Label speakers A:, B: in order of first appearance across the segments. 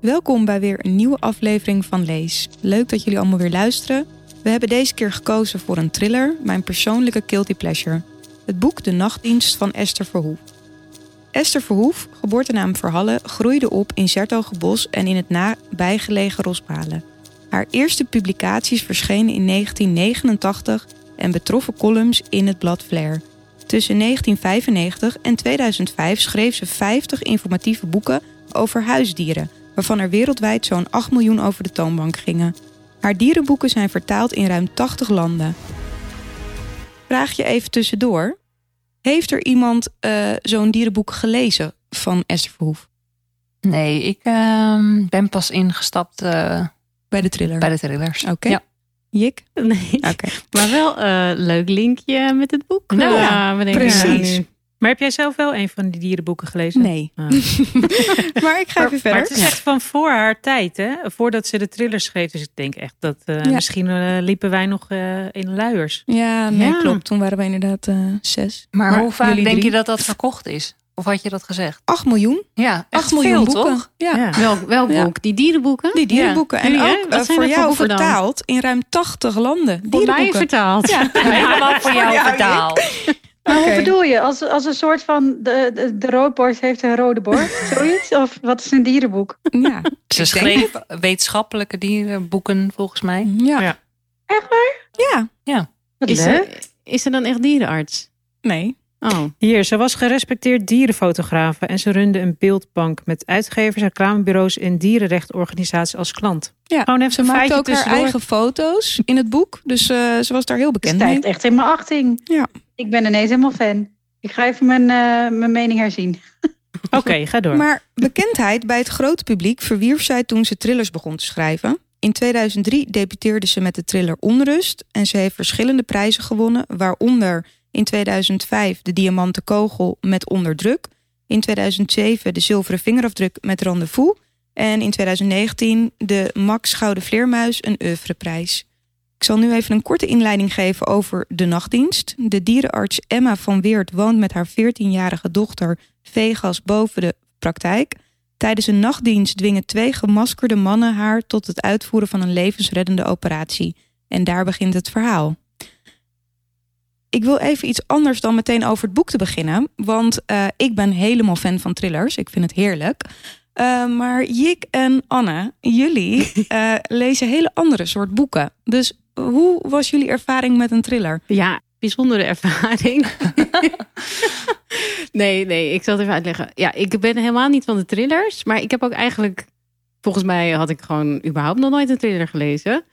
A: Welkom bij weer een nieuwe aflevering van Lees. Leuk dat jullie allemaal weer luisteren. We hebben deze keer gekozen voor een thriller, mijn persoonlijke guilty pleasure. Het boek De Nachtdienst van Esther Verhoef. Esther Verhoef, geboortenaam Verhalle, groeide op in Zertogenbos en in het nabijgelegen Rosmalen. Haar eerste publicaties verschenen in 1989 en betroffen columns in het blad Flair. Tussen 1995 en 2005 schreef ze 50 informatieve boeken over huisdieren, waarvan er wereldwijd zo'n 8 miljoen over de toonbank gingen. Haar dierenboeken zijn vertaald in ruim 80 landen. Vraag je even tussendoor: heeft er iemand eh, zo'n dierenboek gelezen van Esther Verhoef
B: Nee, ik ehm, ben pas ingestapt eh,
A: bij de thriller?
B: bij de thrillers.
A: Oké.
B: Ja.
A: Jik?
C: Nee,
A: Oké.
C: maar wel een leuk linkje met het boek.
B: Nou,
C: Eh,
B: ja,
C: we denken
A: Precies.
C: aan nu.
D: Maar heb jij zelf wel een van die dierenboeken
C: dus-
D: gelezen?
A: Nee.
D: Ah.
A: Maar ik ga even
D: Maar, maar
A: verder.
D: het is echt van voor haar tijd, hè? Voordat ze de thrillers schreef. Dus ik denk echt dat eh,
A: Ja.
D: misschien eh, liepen wij nog eh, in luiers.
A: Ja, nee,
D: Ja.
A: klopt. Toen waren we inderdaad eh, zes.
B: Maar, hoe vaak
A: jullie
B: denk
A: drie?
B: je dat dat verkocht is? Of had je dat gezegd?
A: 8 miljoen.
B: Ja,
A: 8
B: echt
A: miljoen
B: veel,
A: boeken.
B: toch?
A: Ja.
D: Ja.
C: Welk, welk
A: Ja.
C: boek? Die dierenboeken?
A: Die dierenboeken. En
C: Jullie, hè?
A: ook
C: Wat
A: eh,
C: zijn
A: voor
C: dat voor
A: jou
C: boeken dan?
A: vertaald in ruim 80 landen.
C: Voor mij
A: Dierenboeken.
C: vertaald.
A: Ja.
B: Helemaal voor jou
A: Ja,
B: vertaald.
E: Maar
A: Oké.
E: hoe bedoel je? Als, als een soort van de, de, de roodborst heeft een rode borst, zoiets? Of wat is een dierenboek?
A: Ja.
B: Ze
A: Ik denk
B: schreef wetenschappelijke dierenboeken, volgens mij.
A: Ja.
D: Ja.
E: Echt waar?
A: Ja.
C: Is, ze, is ze dan echt dierenarts?
A: Nee.
C: Oh,
D: Hier, ze was gerespecteerd dierenfotografe en ze runde een beeldbank met uitgevers, reclamebureaus en dierenrechtenorganisaties als klant.
A: Ja,
D: Gewoon even
A: Ze
D: een
A: maakte
D: feitje
A: ook haar
D: tussendoor.
A: eigen foto's in het boek. Dus eh, ze was daar heel
E: Het
A: bekend mee.
E: stijgt echt in mijn achting.
A: Ja.
E: Ik ben ineens helemaal fan. Ik ga even mijn, eh, mijn mening herzien.
D: Oké, ga door.
A: Maar bekendheid bij het grote publiek verwierf zij toen ze thrillers begon te schrijven. In 2003 debuteerde ze met de thriller Onrust en ze heeft verschillende prijzen gewonnen, waaronder in 2005 de Diamanten Kogel met Onderdruk, in 2007 de Zilveren Vingerafdruk met Rendezvous en in 2019 de Max Gouden Vleermuis een oeuvreprijs. Ik zal nu even een korte inleiding geven over de nachtdienst. De dierenarts Emma van Weert woont met haar 14-jarige dochter Vegas boven de praktijk. Tijdens een nachtdienst dwingen twee gemaskerde mannen haar tot het uitvoeren van een levensreddende operatie. En daar begint het verhaal. Ik wil even iets anders dan meteen over het boek te beginnen. Want eh, ik ben helemaal fan van thrillers. Ik vind het heerlijk. Eh, maar Jik en Anna, jullie eh, lezen hele andere soort boeken. Dus hoe was jullie ervaring met een thriller?
C: ja, bijzondere ervaring. nee, nee, ik zal het even uitleggen. Ja, ik ben helemaal niet van de thrillers. Maar ik heb ook eigenlijk... Volgens mij had ik gewoon überhaupt nog nooit een thriller gelezen.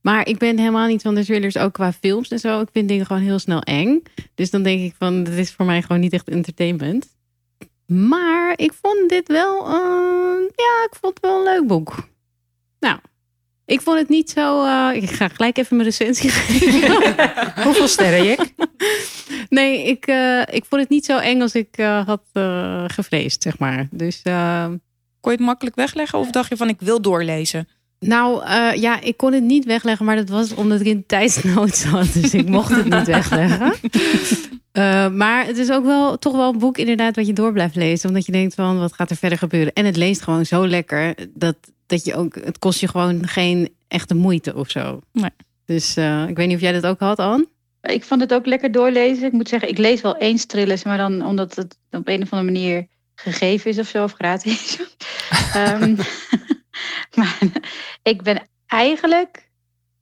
C: Maar ik ben helemaal niet van de thrillers, ook qua films en zo. Ik vind dingen gewoon heel snel eng. Dus dan denk ik van, dit is voor mij gewoon niet echt entertainment. Maar ik vond dit wel, eh, ja, ik vond het wel een leuk boek. Nou, ik vond het niet zo... eh, ik ga gelijk even mijn recensie geven.
D: Hoeveel sterren, Jik?
C: Nee, ik, eh, ik vond het niet zo eng als ik eh, had eh, gevreesd, zeg maar. Dus, eh,
A: Kon je het makkelijk wegleggen of dacht je van ik wil doorlezen?
C: nou eh, ja, ik kon het niet wegleggen, maar dat was omdat ik in tijdsnood zat. Dus ik mocht het niet wegleggen. Eh, maar het is ook wel toch wel een boek inderdaad wat je door blijft lezen. Omdat je denkt van, wat gaat er verder gebeuren? En het leest gewoon zo lekker dat, dat je ook, het kost je gewoon geen echte moeite of zo.
A: Nee.
C: Dus eh, ik weet niet of jij dat ook had, Anne?
E: Ik vond het ook lekker doorlezen. Ik moet zeggen, ik lees wel eens thrillers, maar dan omdat het op een of andere manier gegeven is of zo, of gratis. Ehm, maar ik ben eigenlijk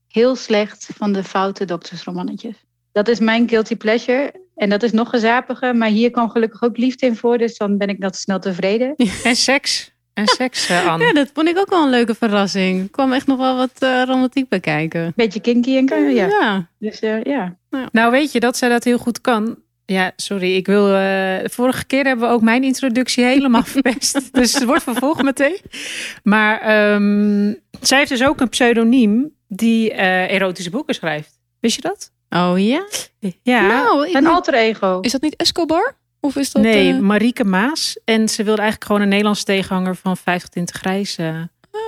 E: heel slecht van de foute doktersromannetjes. Dat is mijn guilty pleasure. En dat is nog gezapiger, maar hier kwam gelukkig ook liefde in voor. Dus dan ben ik dat snel tevreden.
D: En seks. En seks, eh, Anne.
C: Ja, dat vond ik ook wel een leuke verrassing. Er kwam echt nog wel wat eh, romantiek bij kijken.
E: Beetje kinky en kan, ja. Dus eh, ja.
D: Oh, Nou, weet je dat zij dat heel goed kan? Ja, sorry, ik wil. eh, vorige keer hebben we ook mijn introductie helemaal verpest. dus het wordt vervolgd meteen. Maar ehm, zij heeft dus ook een pseudoniem die eh, erotische boeken schrijft. Wist je dat?
C: Oh ja?
D: Ja.
C: nou, ik
E: Een
C: moet-
E: alter ego.
A: Is dat niet Escobar? Of is dat...
D: nee,
A: eh,
D: Marieke Maas. En ze wilde eigenlijk gewoon een Nederlands tegenhanger van 50 Tinten Grijs eh,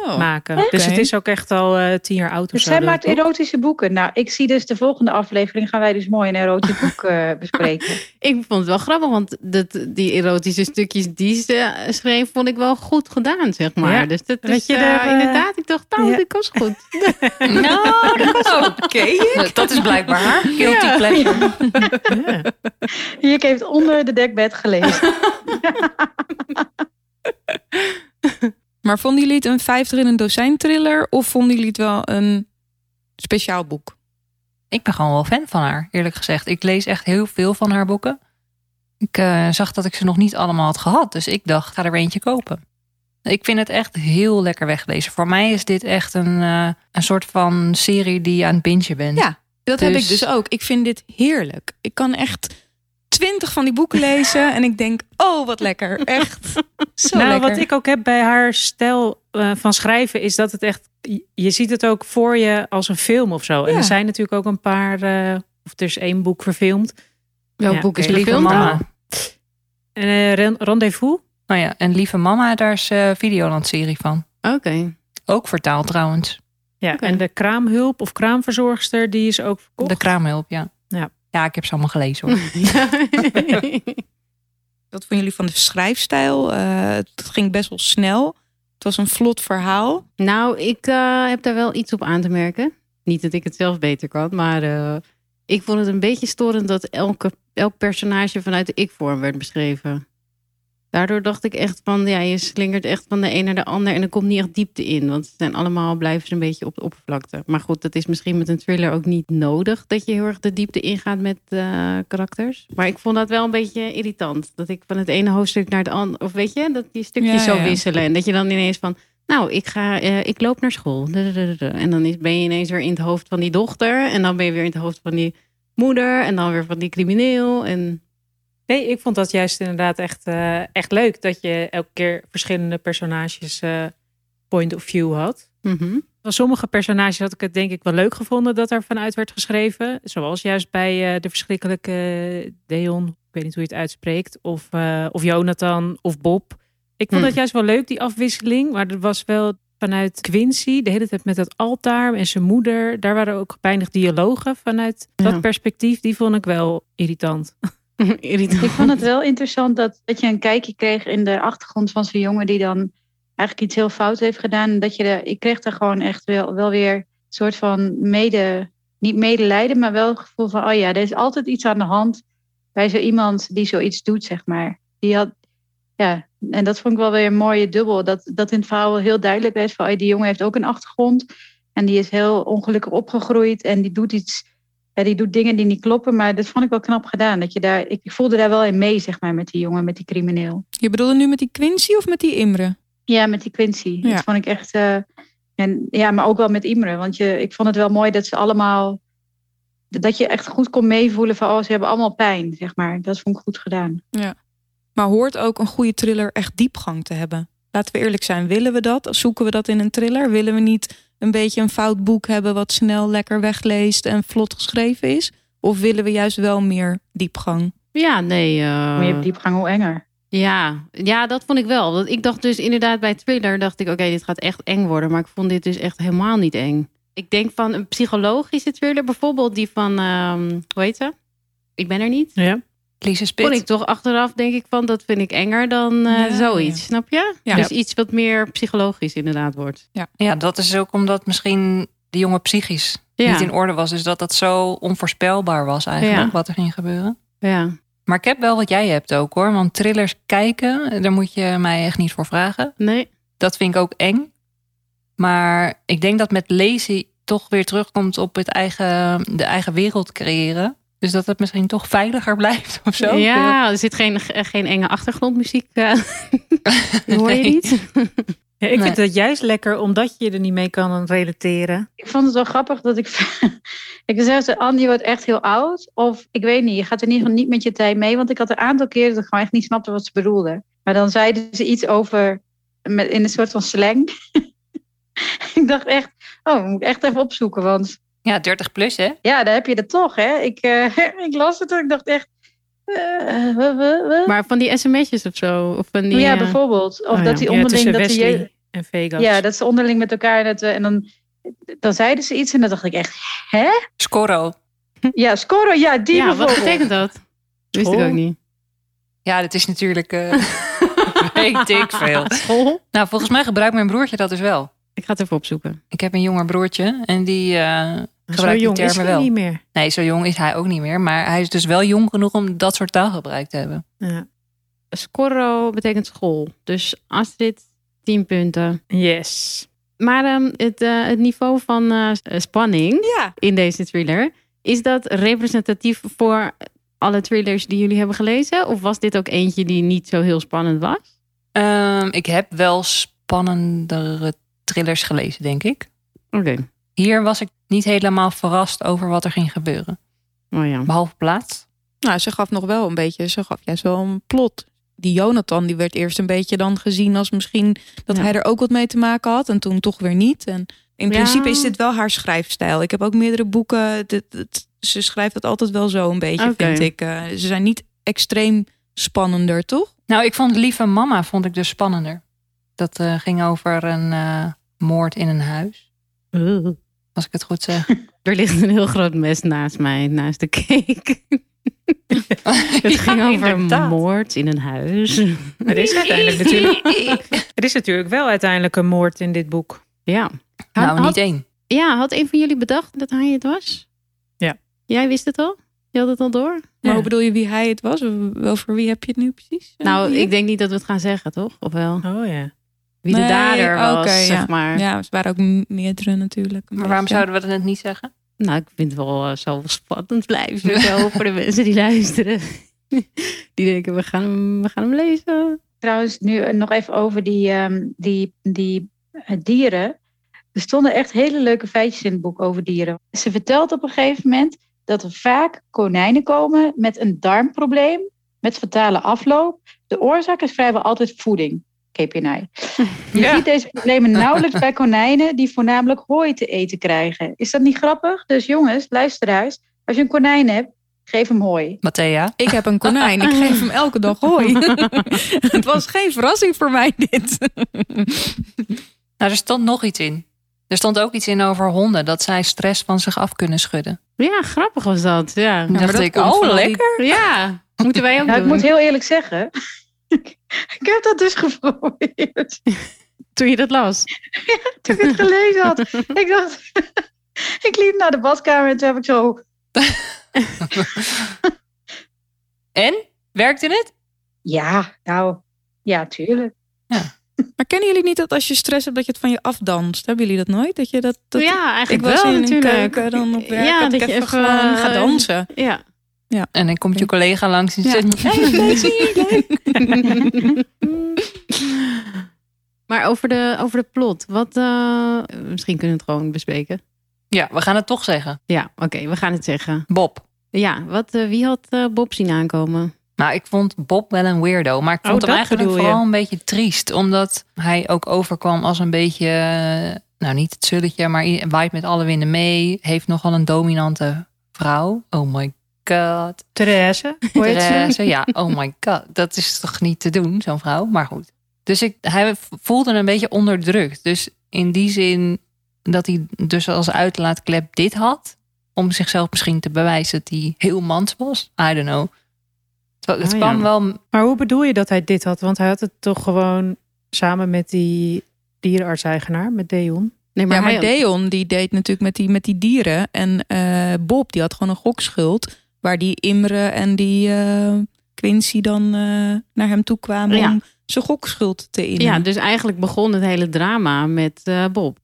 A: Oh.
D: maken. Dus het is ook echt al eh, tien jaar oud of
E: Dus
D: zo.
E: zij
D: dat
E: maakt
D: boek.
E: erotische boeken. Nou, ik zie dus de volgende aflevering gaan wij dus mooi een erotisch boek eh, bespreken.
C: Ik vond het wel grappig, want dat, die erotische stukjes die ze schreef, vond ik wel goed gedaan, zeg maar.
D: Ja.
C: Dus dat
D: Dat
C: is
D: je
C: eh,
D: er, eh,
C: inderdaad, ik dacht, nou,
D: ja.
C: dat was goed.
B: Nou, dat was ook. Dat is blijkbaar haar guilty pleasure.
E: Hier heeft onder de dekbed gelezen.
A: Maar vonden jullie het een vijfder in een dozijn thriller of vonden jullie het wel een speciaal boek?
B: Ik ben gewoon wel fan van haar, eerlijk gezegd. Ik lees echt heel veel van haar boeken. Ik eh, zag dat ik ze nog niet allemaal had gehad. Dus ik dacht, ga er eentje kopen. Ik vind het echt heel lekker weglezen. Voor mij is dit echt een, eh, een soort van serie die je aan het bingen bent.
A: Ja. Dat heb
B: Dus-
A: ik dus ook. Ik vind dit heerlijk. Ik kan echt twintig van die boeken lezen en ik denk, oh wat lekker. Echt zo
D: nou,
A: lekker.
D: wat ik ook heb bij haar stijl eh, van schrijven is dat het echt. Je ziet het ook voor je als een film of zo. En
A: Ja.
D: er zijn natuurlijk ook een paar. eh, of er is één boek verfilmd.
C: Welk
D: Ja,
C: boek is
D: oké.
B: Lieve
C: verfilmd?
B: mama.
D: En eh, Ren- Rendezvous.
B: Nou ja, en Lieve Mama, daar is eh Videoland-serie van.
C: Oké.
B: Ook vertaald trouwens.
D: Ja,
C: Oké.
D: en de kraamhulp of kraamverzorgster, die is ook verkocht.
B: De kraamhulp, ja.
D: Ja.
B: Ja, ik heb ze allemaal gelezen hoor.
A: Wat vonden jullie van de schrijfstijl? Eh het ging best wel snel. Het was een vlot verhaal.
C: nou, ik eh, heb daar wel iets op aan te merken. Niet dat ik het zelf beter kan, maar eh, ik vond het een beetje storend dat elke, elk personage vanuit de ik-vorm werd beschreven. Daardoor dacht ik echt van, ja, je slingert echt van de een naar de ander en er komt niet echt diepte in. Want ze zijn allemaal, blijven ze een beetje op de oppervlakte. Maar goed, dat is misschien met een thriller ook niet nodig, dat je heel erg de diepte ingaat met eh, karakters. Maar ik vond dat wel een beetje irritant. Dat ik van het ene hoofdstuk naar het andere, of weet je, dat die stukjes
A: Ja,
C: zo
A: ja.
C: wisselen. En dat je dan ineens van, nou, ik, ga, eh, ik loop naar school. Dadadadada. En dan is, ben je ineens weer in het hoofd van die dochter. En dan ben je weer in het hoofd van die moeder. En dan weer van die crimineel. En
D: Nee, ik vond dat juist inderdaad echt, eh, echt leuk. Dat je elke keer verschillende personages eh, point of view had.
C: Mhm.
D: Van sommige personages had ik het denk ik wel leuk gevonden dat er vanuit werd geschreven. Zoals juist bij eh, de verschrikkelijke eh, Deon, ik weet niet hoe je het uitspreekt. Of, eh, of Jonathan of Bob. Ik vond
C: Hmm.
D: dat juist wel leuk, die afwisseling. Maar er was wel vanuit Quincy, de hele tijd met dat altaar en zijn moeder. Daar waren ook weinig dialogen vanuit
C: Ja.
D: dat perspectief. Die vond ik wel irritant.
C: irritant.
E: Ik vond het wel interessant dat, dat je een kijkje kreeg in de achtergrond van zo'n jongen die dan eigenlijk iets heel fout heeft gedaan. En Dat je de, ik kreeg daar gewoon echt wel, wel weer een soort van mede, niet medelijden, maar wel het gevoel van, oh ja, er is altijd iets aan de hand bij zo iemand die zoiets doet, zeg maar. Die had, ja, en dat vond ik wel weer een mooie dubbel. Dat, dat in het verhaal wel heel duidelijk werd van, oh, die jongen heeft ook een achtergrond. En die is heel ongelukkig opgegroeid en die doet iets, ja, die doet dingen die niet kloppen. Maar dat vond ik wel knap gedaan. Dat je daar, ik voelde daar wel in mee, zeg maar, met die jongen, met die crimineel.
A: Je bedoelde nu met die Quincy of met die Imre?
E: Ja, met die Quincy.
A: Ja.
E: Dat vond ik echt, eh, en, ja, maar ook wel met Imre. Want je, ik vond het wel mooi dat ze allemaal, dat je echt goed kon meevoelen van, oh, ze hebben allemaal pijn, zeg maar. Dat vond ik goed gedaan.
A: Maar hoort ook een goede thriller echt diepgang te hebben? Laten we eerlijk zijn, willen we dat? Zoeken we dat in een thriller? Willen we niet een beetje een fout boek hebben wat snel lekker wegleest en vlot geschreven is? Of willen we juist wel meer diepgang?
C: Ja, nee. eh,
E: Hoe meer diepgang, hoe enger.
C: ja. ja, dat vond ik wel. Want ik dacht dus inderdaad bij thriller, dacht ik, oké, dit gaat echt eng worden. Maar ik vond dit dus echt helemaal niet eng. Ik denk van een psychologische thriller, bijvoorbeeld die van, ehm hoe heet ze? Ik ben er niet.
D: Ja.
B: Lise Spit.
C: Kon ik toch achteraf denk ik van, dat vind ik enger dan eh,
A: Ja,
C: zoiets,
A: ja.
C: snap je?
A: Ja.
C: Dus iets wat meer psychologisch inderdaad wordt.
B: Ja, dat is ook omdat misschien de jongen psychisch
C: Ja,
B: niet in orde was. Dus dat dat zo onvoorspelbaar was eigenlijk,
C: Ja.
B: wat er ging gebeuren.
C: ja.
B: Maar ik heb wel wat jij hebt ook hoor. Want thrillers kijken, daar moet je mij echt niet voor vragen.
C: nee.
B: Dat vind ik ook eng. Maar ik denk dat met lezen toch weer terugkomt op het eigen, de eigen wereld creëren. Dus dat het misschien toch veiliger blijft of zo.
C: ja, er zit geen, geen enge achtergrondmuziek. eh, die hoor je
B: Nee.
C: niet?
D: Ja, ik
B: Nee.
D: vind dat juist lekker, omdat je er niet mee kan relateren.
E: Ik vond het wel grappig dat ik... ik zei, Anne, je wordt echt heel oud. Of ik weet niet, je gaat in ieder geval niet met je tijd mee. Want ik had een aantal keren dat ik gewoon echt niet snapte wat ze bedoelden. Maar dan zeiden ze iets over... Met, in een soort van slang. ik dacht echt, oh, moet ik echt even opzoeken. Want
B: ja 30 plus hè.
E: ja, daar heb je dat toch, hè. Ik, eh, ik las het en ik dacht echt... eh, eh, eh, eh, eh.
C: Maar van die sms'jes of zo? Of van die,
E: ja,
C: eh,
E: bijvoorbeeld. Of
C: Oh ja,
E: dat die
D: ja,
E: onderling...
D: tussen
E: dat die
D: Wesley.
E: je-
D: en Vegas.
E: Ja, dat ze onderling met elkaar. Dat, eh, en dan, dan zeiden ze iets en dan dacht ik echt, hè?
B: Scoro.
E: Ja, scoren, ja, die
C: ja, wat
E: bijvoorbeeld.
C: betekent dat? Wist ik
B: School.
C: ook niet.
B: Ja, dat is natuurlijk... eh, ik denk veel.
D: Mhm.
C: School?
B: Nou, volgens mij gebruikt mijn broertje dat dus wel.
C: Ik ga het even opzoeken.
B: Ik heb een jonger broertje en die eh gebruikt
D: Zo
B: die
D: jong is
B: termen
D: hij
B: wel.
D: niet meer.
B: Nee, zo jong is hij ook niet meer. Maar hij is dus wel jong genoeg om dat soort taalgebruik te hebben.
D: Ja.
C: Scorro betekent school. Dus Astrid, 10 punten.
D: Yes.
C: Maar ehm, het, eh, het niveau van eh, spanning
A: Ja.
C: in deze thriller... is dat representatief voor alle thrillers die jullie hebben gelezen? Of was dit ook eentje die niet zo heel spannend was?
B: Ehm, ik heb wel spannendere thrillers gelezen, denk ik.
C: Oké.
B: Hier was ik niet helemaal verrast over wat er ging gebeuren.
C: Oh ja.
B: Behalve plaats.
A: Nou, ze gaf nog wel een beetje, ze gaf juist wel een plot. Die Jonathan, die werd eerst een beetje dan gezien als misschien dat
C: Ja.
A: hij er ook wat mee te maken had. En toen toch weer niet. En in
C: Ja.
A: principe is dit wel haar schrijfstijl. Ik heb ook meerdere boeken. Dit, dit- ze schrijft dat altijd wel zo een beetje,
C: Oké.
A: vind ik. Eh, ze zijn niet extreem spannender, toch?
B: Nou, ik vond Lieve Mama vond ik dus spannender. Dat eh, ging over een eh, moord in een huis. Als ik het goed zeg.
C: Er ligt een heel groot mes naast mij, naast de cake. Het ging over een moord in een huis.
D: Er is, uiteindelijk natuurlijk, er is natuurlijk wel uiteindelijk een moord in dit boek.
C: Ja.
B: Nou,
C: Had-
B: niet één.
C: Ja, had een van jullie bedacht dat hij het was?
D: Ja.
C: Jij wist het al? Je had het al door?
A: Maar
D: Ja.
A: hoe bedoel je wie hij het was? Wel voor wie heb je het nu precies? eh,
C: Nou,
A: hier?
C: ik denk niet dat we het gaan zeggen, toch? Of wel?
D: Oh ja.
C: Wie de
A: Nee,
C: dader was,
A: oké,
C: zeg maar.
A: Ja, ze waren ook m- meerdere natuurlijk. een
B: Maar waarom
A: beetje.
B: zouden we dat net niet zeggen?
C: Nou, ik vind het wel eh, zo spannend blijven. Zo voor de mensen die luisteren. Die denken, we gaan hem, we gaan hem lezen.
E: Trouwens, nu eh, nog even over die, ehm, die, die eh, dieren. Er stonden echt hele leuke feitjes in het boek over dieren. Ze vertelt op een gegeven moment dat er vaak konijnen komen met een darmprobleem, met fatale afloop. De oorzaak is vrijwel altijd voeding, KPNI. Je
B: Ja.
E: ziet deze problemen nauwelijks bij konijnen die voornamelijk hooi te eten krijgen. Is dat niet grappig? Dus jongens, luisteraars, als je een konijn hebt, geef hem hooi.
B: Matthea?
A: Ik heb een konijn. Ik geef hem elke dag hooi. het was geen verrassing voor mij dit.
B: Nou, er stond nog iets in. Er stond ook iets in over honden, dat zij stress van zich af kunnen schudden.
C: Ja, grappig was dat. Ja.
B: Toen
A: maar
B: dacht
A: dat
B: ik,
A: komt van
B: oh
A: al die-
B: lekker.
C: Ja, moeten wij ook
E: Nou, ik
C: doen.
E: moet heel eerlijk zeggen, ik heb dat dus geprobeerd.
C: Toen je dat las.
E: toen ik het gelezen had. ik dacht, ik liep naar de badkamer en toen heb ik zo,
B: En? Werkte het?
E: ja, nou, ja, tuurlijk.
A: Maar kennen jullie niet dat als je stress hebt dat je het van je afdanst? Hebben jullie dat nooit? Dat je dat, dat
C: ja,
A: ik
C: eigenlijk
A: was
C: wel
A: in een
C: natuurlijk.
A: keuken dan op werk
C: Ja,
A: dat, ik even, gewoon
C: eh,
A: ga dansen.
C: Ja.
B: En dan komt je collega langs en
A: Ja.
B: zegt, hey,
C: maar over de, over de plot, wat, eh, misschien kunnen we het gewoon bespreken.
B: ja, we gaan het toch zeggen.
C: Ja, oké, we gaan het zeggen.
B: Bob.
C: Ja, wat, eh, wie had eh, Bob zien aankomen?
B: Nou, ik vond Bob wel een weirdo, maar ik
D: Oh,
B: vond
D: dat
B: hem eigenlijk
D: bedoel je.
B: vooral een beetje triest. Omdat hij ook overkwam als een beetje, eh, nou niet het zulletje, maar i- waait met alle winden mee. Heeft nogal een dominante vrouw. Oh my god.
D: Therese, hoe heet ze?
B: Therese, ja, oh my god. Dat is toch niet te doen, zo'n vrouw? Maar goed. Dus ik, hij voelde een beetje onderdrukt. Dus in die zin dat hij dus als uitlaatklep dit had... om zichzelf misschien te bewijzen dat hij heel mans was. I don't know. Terwijl Het
C: Oh ja.
B: kwam wel...
D: Maar hoe bedoel je dat hij dit had? Want hij had het toch gewoon samen met die dierenarts-eigenaar, met Deon.
C: Nee,
A: Ja, maar
C: hij-
A: Deon die deed natuurlijk met die, met die dieren. En eh, Bob die had gewoon een gokschuld. Waar die Imre en die eh, Quincy dan eh, naar hem toe kwamen
C: Ja.
A: om zijn gokschuld te innen.
C: ja, dus eigenlijk begon het hele drama met eh, Bob.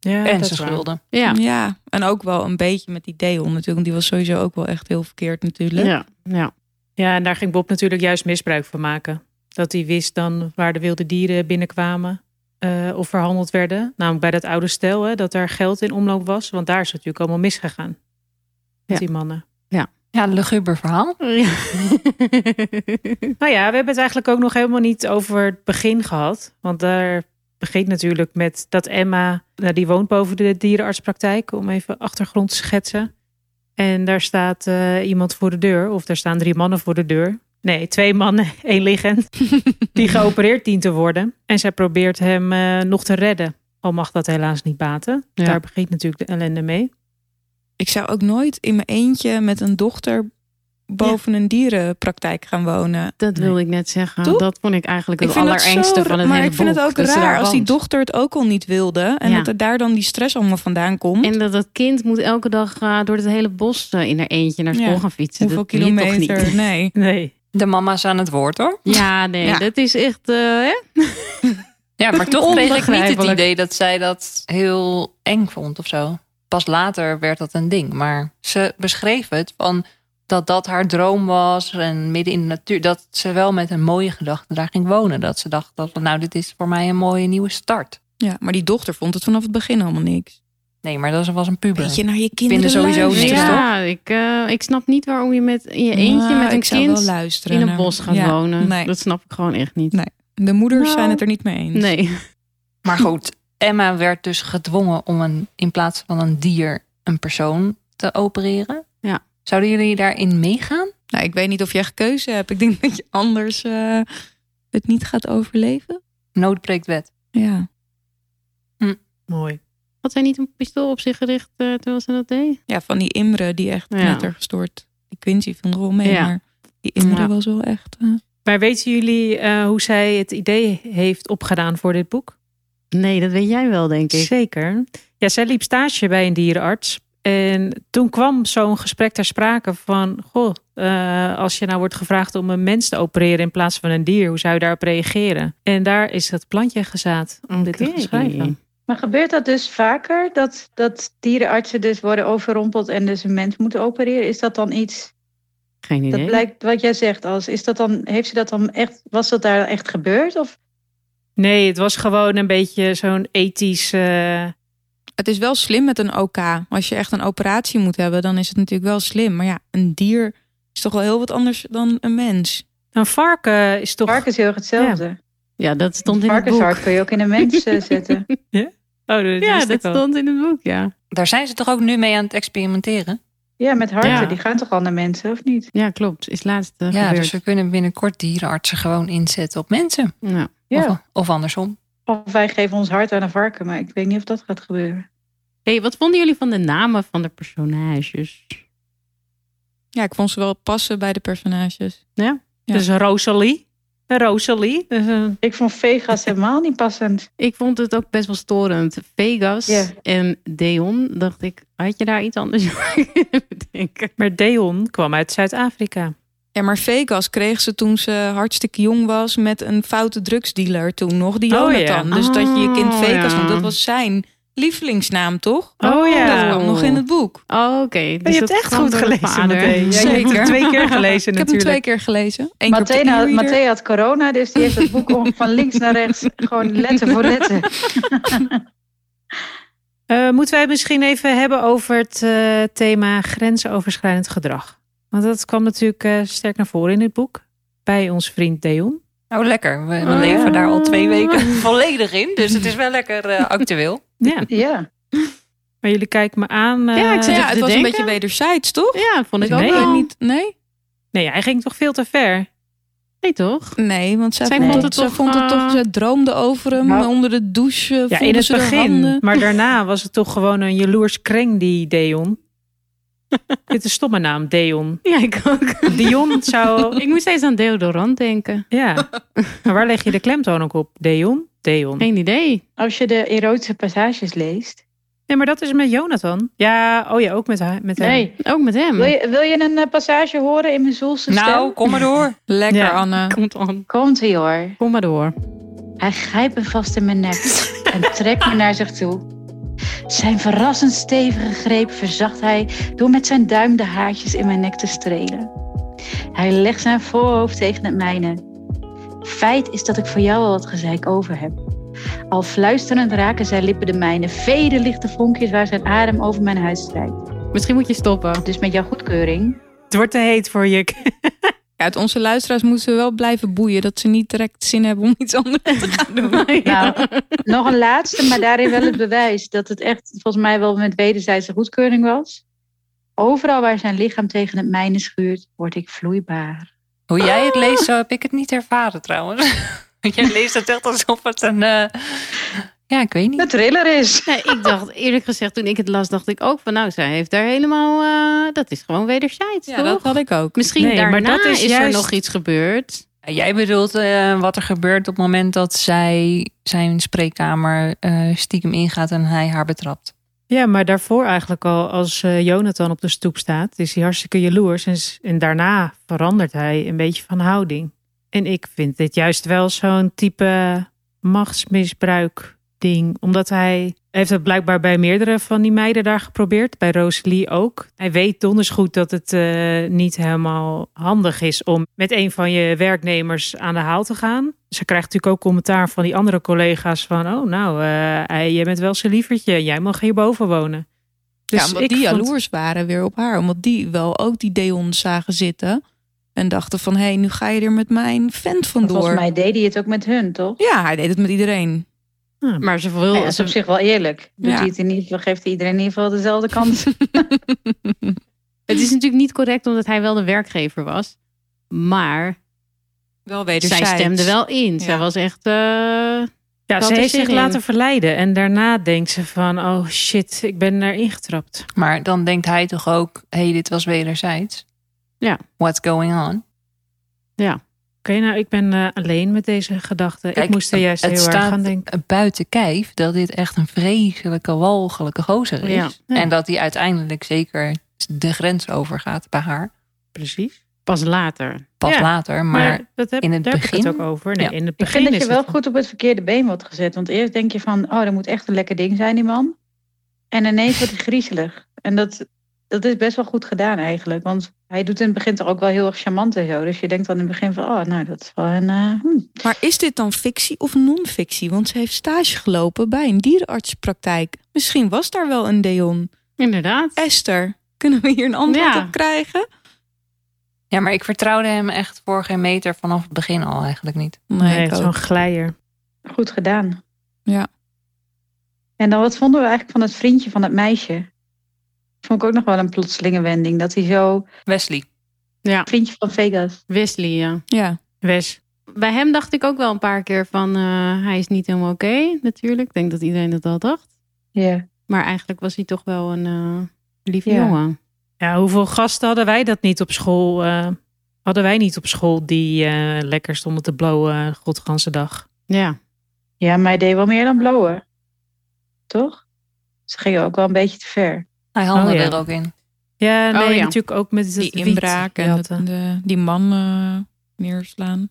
D: Ja,
B: en
D: dat
B: ze
D: is waar.
B: schulden.
C: Ja.
A: Ja. en ook wel een beetje met die Deon natuurlijk. Want die was sowieso ook wel echt heel verkeerd natuurlijk.
C: Ja, ja.
D: Ja, en daar ging Bob natuurlijk juist misbruik van maken. Dat hij wist dan waar de wilde dieren binnenkwamen eh, of verhandeld werden. Namelijk bij dat oude stel, hè, dat daar geld in omloop was. Want daar is het natuurlijk allemaal misgegaan.
C: Ja.
D: Met die mannen.
B: Ja, luguber verhaal.
C: Ja.
D: Nou ja, we hebben het eigenlijk ook nog helemaal niet over het begin gehad. Want daar begint natuurlijk met dat Emma, nou, die woont boven de dierenartspraktijk, om even achtergrond te schetsen. En daar staat eh, iemand voor de deur, of daar staan drie mannen voor de deur. Nee, twee mannen, één liggend. die geopereerd dient te worden. En zij probeert hem eh, nog te redden. Al mag dat helaas niet baten.
B: Ja.
D: Daar begint natuurlijk de ellende mee.
A: Ik zou ook nooit in mijn eentje met een dochter boven een dierenpraktijk gaan wonen.
C: Dat
D: Nee.
C: wilde ik net zeggen.
A: Toch?
C: Dat vond ik eigenlijk
A: Ik
C: het
A: vind dat zo
C: allerengste
A: ra-
C: van het
A: Maar
C: hele
A: ik vind het
C: boek,
A: ook
C: dat ze daar
A: raar als die
C: woont.
A: dochter het ook al niet wilde. En
C: Ja.
A: dat er daar dan die stress allemaal vandaan komt.
C: En dat dat kind moet elke dag eh, door het hele bos eh, in haar eentje naar school
A: Ja.
C: gaan fietsen.
A: Hoeveel
C: dat wil je toch niet?
A: kilometer? Nee.
D: Nee.
B: De mama's aan het woord hoor.
C: Ja, nee,
A: Ja.
C: dat is echt... eh, hè?
B: Ja, maar toch kreeg ik niet het
C: Onbegrijpelijk.
B: idee dat zij dat heel eng vond of zo. Pas later werd dat een ding. Maar ze beschreef het van dat dat haar droom was en midden in de natuur. Dat ze wel met een mooie gedachte daar ging wonen. Dat ze dacht dat nou, dit is voor mij een mooie nieuwe start.
A: Ja, maar die dochter vond het vanaf het begin allemaal niks.
B: Nee, maar dat was een puber.
A: Beetje naar je kinderen
B: sowieso
A: luisteren.
B: niks,
A: Ja.
C: ja, ik, eh, ik snap niet waarom je met in je eentje
A: Nou,
C: met een
A: ik zou wel
C: kind
A: luisteren
C: in een
A: naar-
C: bos gaat
A: Ja,
C: wonen.
A: nee.
C: Dat snap ik gewoon echt niet.
A: Nee. De moeders
C: Nou.
A: zijn het er niet mee eens.
C: Nee.
B: Maar goed, Emma werd dus gedwongen om een, in plaats van een dier een persoon te opereren.
C: Ja.
B: Zouden jullie daarin meegaan?
A: Nou, ik weet niet of je echt keuze hebt. Ik denk dat je anders eh, het niet gaat overleven.
B: Nood breekt wet.
A: Ja.
D: Mooi.
C: Had zij niet een pistool op zich gericht eh, terwijl ze dat deed?
A: ja, van die Imre die echt
C: Ja.
A: net er gestoord. Die Quincy viel er wel mee,
C: Ja.
A: maar die Imre
C: Ja.
A: was wel echt... eh,
D: Maar weten jullie eh, hoe zij het idee heeft opgedaan voor dit boek?
C: Nee, dat weet jij wel, denk ik.
D: Zeker. Ja, zij liep stage bij een dierenarts. En toen kwam zo'n gesprek ter sprake van... Goh, eh, als je nou wordt gevraagd om een mens te opereren in plaats van een dier... hoe zou je daarop reageren? En daar is dat plantje gezaad om dit te
C: Oké.
D: gaan schrijven.
E: Maar gebeurt dat dus vaker? Dat, dat dierenartsen dus worden overrompeld en dus een mens moeten opereren? Is dat dan iets...
C: Geen idee.
E: Dat blijkt wat jij zegt, als is dat dan, heeft ze dat dan echt, was dat daar echt gebeurd? Of
D: Nee, het was gewoon een beetje zo'n ethisch... eh,
A: Het is wel slim met een OK. Als je echt een operatie moet hebben, dan is het natuurlijk wel slim. Maar ja, een dier is toch wel heel wat anders dan een mens.
D: een varken is toch...
E: varken is heel erg hetzelfde.
C: Ja, dat stond in het boek.
E: Varkenshart kun je ook in een mens eh, zetten.
D: Oh, dat wist
C: Ja,
D: ik
C: dat
D: al.
C: stond in het boek, ja.
B: Daar zijn ze toch ook nu mee aan het experimenteren?
E: Ja, met harten,
C: Ja.
E: die gaan toch al naar mensen, of niet?
C: Ja, klopt. Is laatst eh,
B: Ja,
C: gebeurd.
B: dus we kunnen binnenkort dierenartsen gewoon inzetten op mensen.
C: Ja.
B: Of, of andersom.
E: Of wij geven ons hart aan een varken, maar ik weet niet of dat gaat gebeuren.
C: Hey, wat vonden jullie van de namen van de personages?
A: Ja, ik vond ze wel passen bij de personages. Ja.
D: Dus Rosalie. Rosalie. Dus, eh,
E: Ik vond Vegas helemaal niet passend.
C: Ik vond het ook best wel storend. Vegas
E: Ja.
C: en Deon, dacht ik, had je daar iets anders over kunnen bedenken?
D: maar Deon kwam uit Zuid-Afrika.
A: Ja, maar Vegas kreeg ze toen ze hartstikke jong was met een foute drugsdealer toen nog, die
D: Oh, ja.
A: Jonathan. Dus dat je je kind
C: Oh,
A: Vegas
C: ja.
A: noemt, dat was zijn lievelingsnaam, toch?
D: Oh, ja.
A: Dat kwam nog in het boek.
C: Oh, oké.
D: Maar
C: Dus
D: je hebt
C: dat
D: echt
C: kwam
D: goed
C: door de
D: gelezen,
C: vader.
D: meteen. Ja, je hebt
A: Zeker.
D: het twee keer gelezen
A: Ik heb hem twee
D: natuurlijk.
A: keer gelezen. Eén keer op de
E: Matthé had,
A: e-reader.
E: Matthé had corona, dus die heeft het boek om- van links naar rechts gewoon letter voor letter.
D: Eh, moeten wij misschien even hebben over het eh, thema grensoverschrijdend gedrag? Want dat kwam natuurlijk eh, sterk naar voren in het boek. Bij ons vriend Deon.
B: Nou, lekker. We, we
C: Oh,
B: leven
C: ja.
B: daar al twee weken volledig in. Dus het is wel lekker eh, actueel.
D: Ja,
E: Ja,
D: maar jullie kijken me aan. eh,
C: Ja, ik zit
A: Ja,
C: te
A: het was een
C: denken.
A: beetje wederzijds, toch?
C: Ja, vond ik
D: Nee.
C: ook wel. Niet...
A: Niet, nee?
D: Nee, hij ging toch veel te ver?
C: Nee, toch?
A: Nee, want zij,
C: Zij
A: vond,
E: vond
A: het,
C: het
A: zij
C: toch,
A: vond het toch...
C: eh,
A: Zij droomde over hem
E: Nou,
A: onder de douche.
D: Ja,
A: voelde
D: in het
A: ze haar handen.
D: begin. Maar daarna was het toch gewoon een jaloers kreng, die Deon. Dit is een stomme naam, Deon.
C: Ja, ik ook.
D: Dion zou...
C: ik moest steeds aan deodorant denken.
D: Ja. Maar waar leg je de klemtoon ook op? Deon? Deon.
C: Geen idee.
E: als je de erotische passages leest.
D: Nee, maar dat is met Jonathan. Ja, oh ja, ook met, haar- met hem.
E: Nee,
C: Ook met hem.
E: wil je, wil je een eh, passage horen in mijn zoelse stem?
B: Nou, kom maar door.
A: Lekker,
D: Ja.
A: Anne.
C: Komt aan.
E: Komt-ie hoor.
C: Kom maar door.
E: Hij grijpt me vast in mijn nek en trekt me naar zich toe. Zijn verrassend stevige greep verzacht hij door met zijn duim de haartjes in mijn nek te strelen. Hij legt zijn voorhoofd tegen het mijne. Feit is dat ik voor jou al wat gezeik over heb. Al fluisterend raken zijn lippen de mijne, vele lichte vonkjes waar zijn adem over mijn huid strijkt.
C: Misschien moet je stoppen.
E: Dus met jouw goedkeuring.
D: Het wordt te heet voor je.
A: Ja, uit onze luisteraars moeten we wel blijven boeien. Dat ze niet direct zin hebben om iets anders te gaan doen.
E: Nou, nog een laatste, maar daarin wel het bewijs dat het echt volgens mij wel met wederzijdse goedkeuring was. Overal waar zijn lichaam tegen het mijne schuurt, word ik vloeibaar.
B: Hoe jij het leest, zo heb ik het niet ervaren trouwens. Want jij leest het echt alsof het een... eh, Ja, ik weet
E: De
B: niet.
E: thriller is.
C: Nee, ik dacht eerlijk gezegd, toen ik het las, dacht ik ook van nou, zij heeft daar helemaal. eh, dat is gewoon wederzijds.
B: Ja,
C: toch?
B: dat had ik ook.
C: Misschien
D: Nee, maar
C: daarna
D: dat is
C: is, er
D: juist-
C: nog iets gebeurd.
B: Jij bedoelt eh, wat er gebeurt op het moment dat zij zijn spreekkamer eh, stiekem ingaat en hij haar betrapt.
D: Ja, maar daarvoor eigenlijk al, als eh, Jonathan op de stoep staat, is hij hartstikke jaloers. En, s- en daarna verandert hij een beetje van houding. En ik vind dit juist wel zo'n type machtsmisbruik ding. Omdat hij heeft het blijkbaar bij meerdere van die meiden daar geprobeerd. Bij Rosalie ook. Hij weet donders goed dat het eh, niet helemaal handig is om met een van je werknemers aan de haal te gaan. Ze krijgt natuurlijk ook commentaar van die andere collega's van... oh, nou, eh, hij- jij bent wel zijn lievertje. Jij mag hierboven wonen. Dus
A: ja, omdat die
D: vond-
A: jaloers waren weer op haar. Omdat die wel ook die Deon zagen zitten. En dachten van, hé, hey, nu ga je er met mijn vent vandoor.
E: Volgens mij deed hij het ook met hun, toch?
A: Ja, hij deed het met iedereen.
D: Ah,
C: Maar ze wil.
E: Nou ja, dat is op zich wel eerlijk. Doet
A: Ja.
E: hij het in ieder geval, geeft hij iedereen in ieder geval dezelfde kans.
C: Het is natuurlijk niet correct omdat hij wel de werkgever was. Maar
A: Wel
C: zij stemde wel in. Zij
A: Ja.
C: was echt. eh,
D: Ja,
C: Wat
D: ze
C: is
D: heeft zich
C: erin?
D: laten verleiden. En daarna denkt ze van, oh shit, ik ben erin getrapt.
B: Maar dan denkt hij toch ook, hé, hey, dit was wederzijds.
C: Ja.
B: What's going on?
D: Oké, nou, ik ben eh, alleen met deze gedachten. Ik
B: Kijk,
D: moest er juist
B: het
D: heel erg
B: staat-
D: aan denken.
B: buiten kijf dat dit echt een vreselijke, walgelijke gozer is.
C: Ja.
D: Ja.
B: En dat hij uiteindelijk zeker de grens overgaat bij haar.
D: Precies.
C: pas later.
B: Pas
D: Ja,
B: later, maar,
D: Maar, dat heb,
B: in het
D: daar heb ik
B: begin-
D: het ook over. Nee,
B: Ja.
D: in het
E: Ik
D: begin
E: vind dat
D: is
E: je wel
D: het-
E: goed op het verkeerde been wordt gezet. Want eerst denk je van, oh, dat moet echt een lekker ding zijn, die man. En ineens wordt hij griezelig. En dat, dat is best wel goed gedaan eigenlijk. Want hij doet in het begin toch ook wel heel erg charmant en zo. Dus je denkt dan in het begin van, oh, nou, dat is wel een... eh, hm.
A: Maar is dit dan fictie of non-fictie? Want ze heeft stage gelopen bij een dierenartspraktijk. Misschien was daar wel een Deon.
C: Inderdaad.
A: Esther, kunnen we hier een antwoord
C: Ja.
A: op krijgen?
B: ja, maar ik vertrouwde hem echt voor geen meter vanaf het begin al eigenlijk niet.
D: Nee,
A: ik
D: het is
A: ook.
D: zo'n glijer.
E: Goed gedaan.
A: Ja.
E: En dan wat vonden we eigenlijk van het vriendje van het meisje? Vond ik ook nog wel een plotselinge wending. Dat hij zo...
B: Wesley.
C: Ja,
E: Vriendje van Vegas.
C: Wesley. Ja.
A: Ja.
D: Wes.
C: Bij hem dacht ik ook wel een paar keer van eh, hij is niet helemaal oké. natuurlijk. Ik denk dat iedereen dat al dacht.
E: Ja.
C: Maar eigenlijk was hij toch wel een eh lieve
E: Ja.
C: jongen.
D: Ja, hoeveel gasten hadden wij dat niet op school? eh, hadden wij niet op school die eh, lekker stonden te blowen eh, godganse dag?
C: Ja.
E: Ja, maar hij deed wel meer dan blowen. Toch? Ze gingen ook wel een beetje te ver.
B: Hij handelde
D: Oh, ja.
B: er ook in.
D: Ja, nee,
C: Oh ja.
D: natuurlijk ook met het
A: Die
D: wiet.
A: inbraak en
D: Ja,
A: dat- de- die man eh, neerslaan.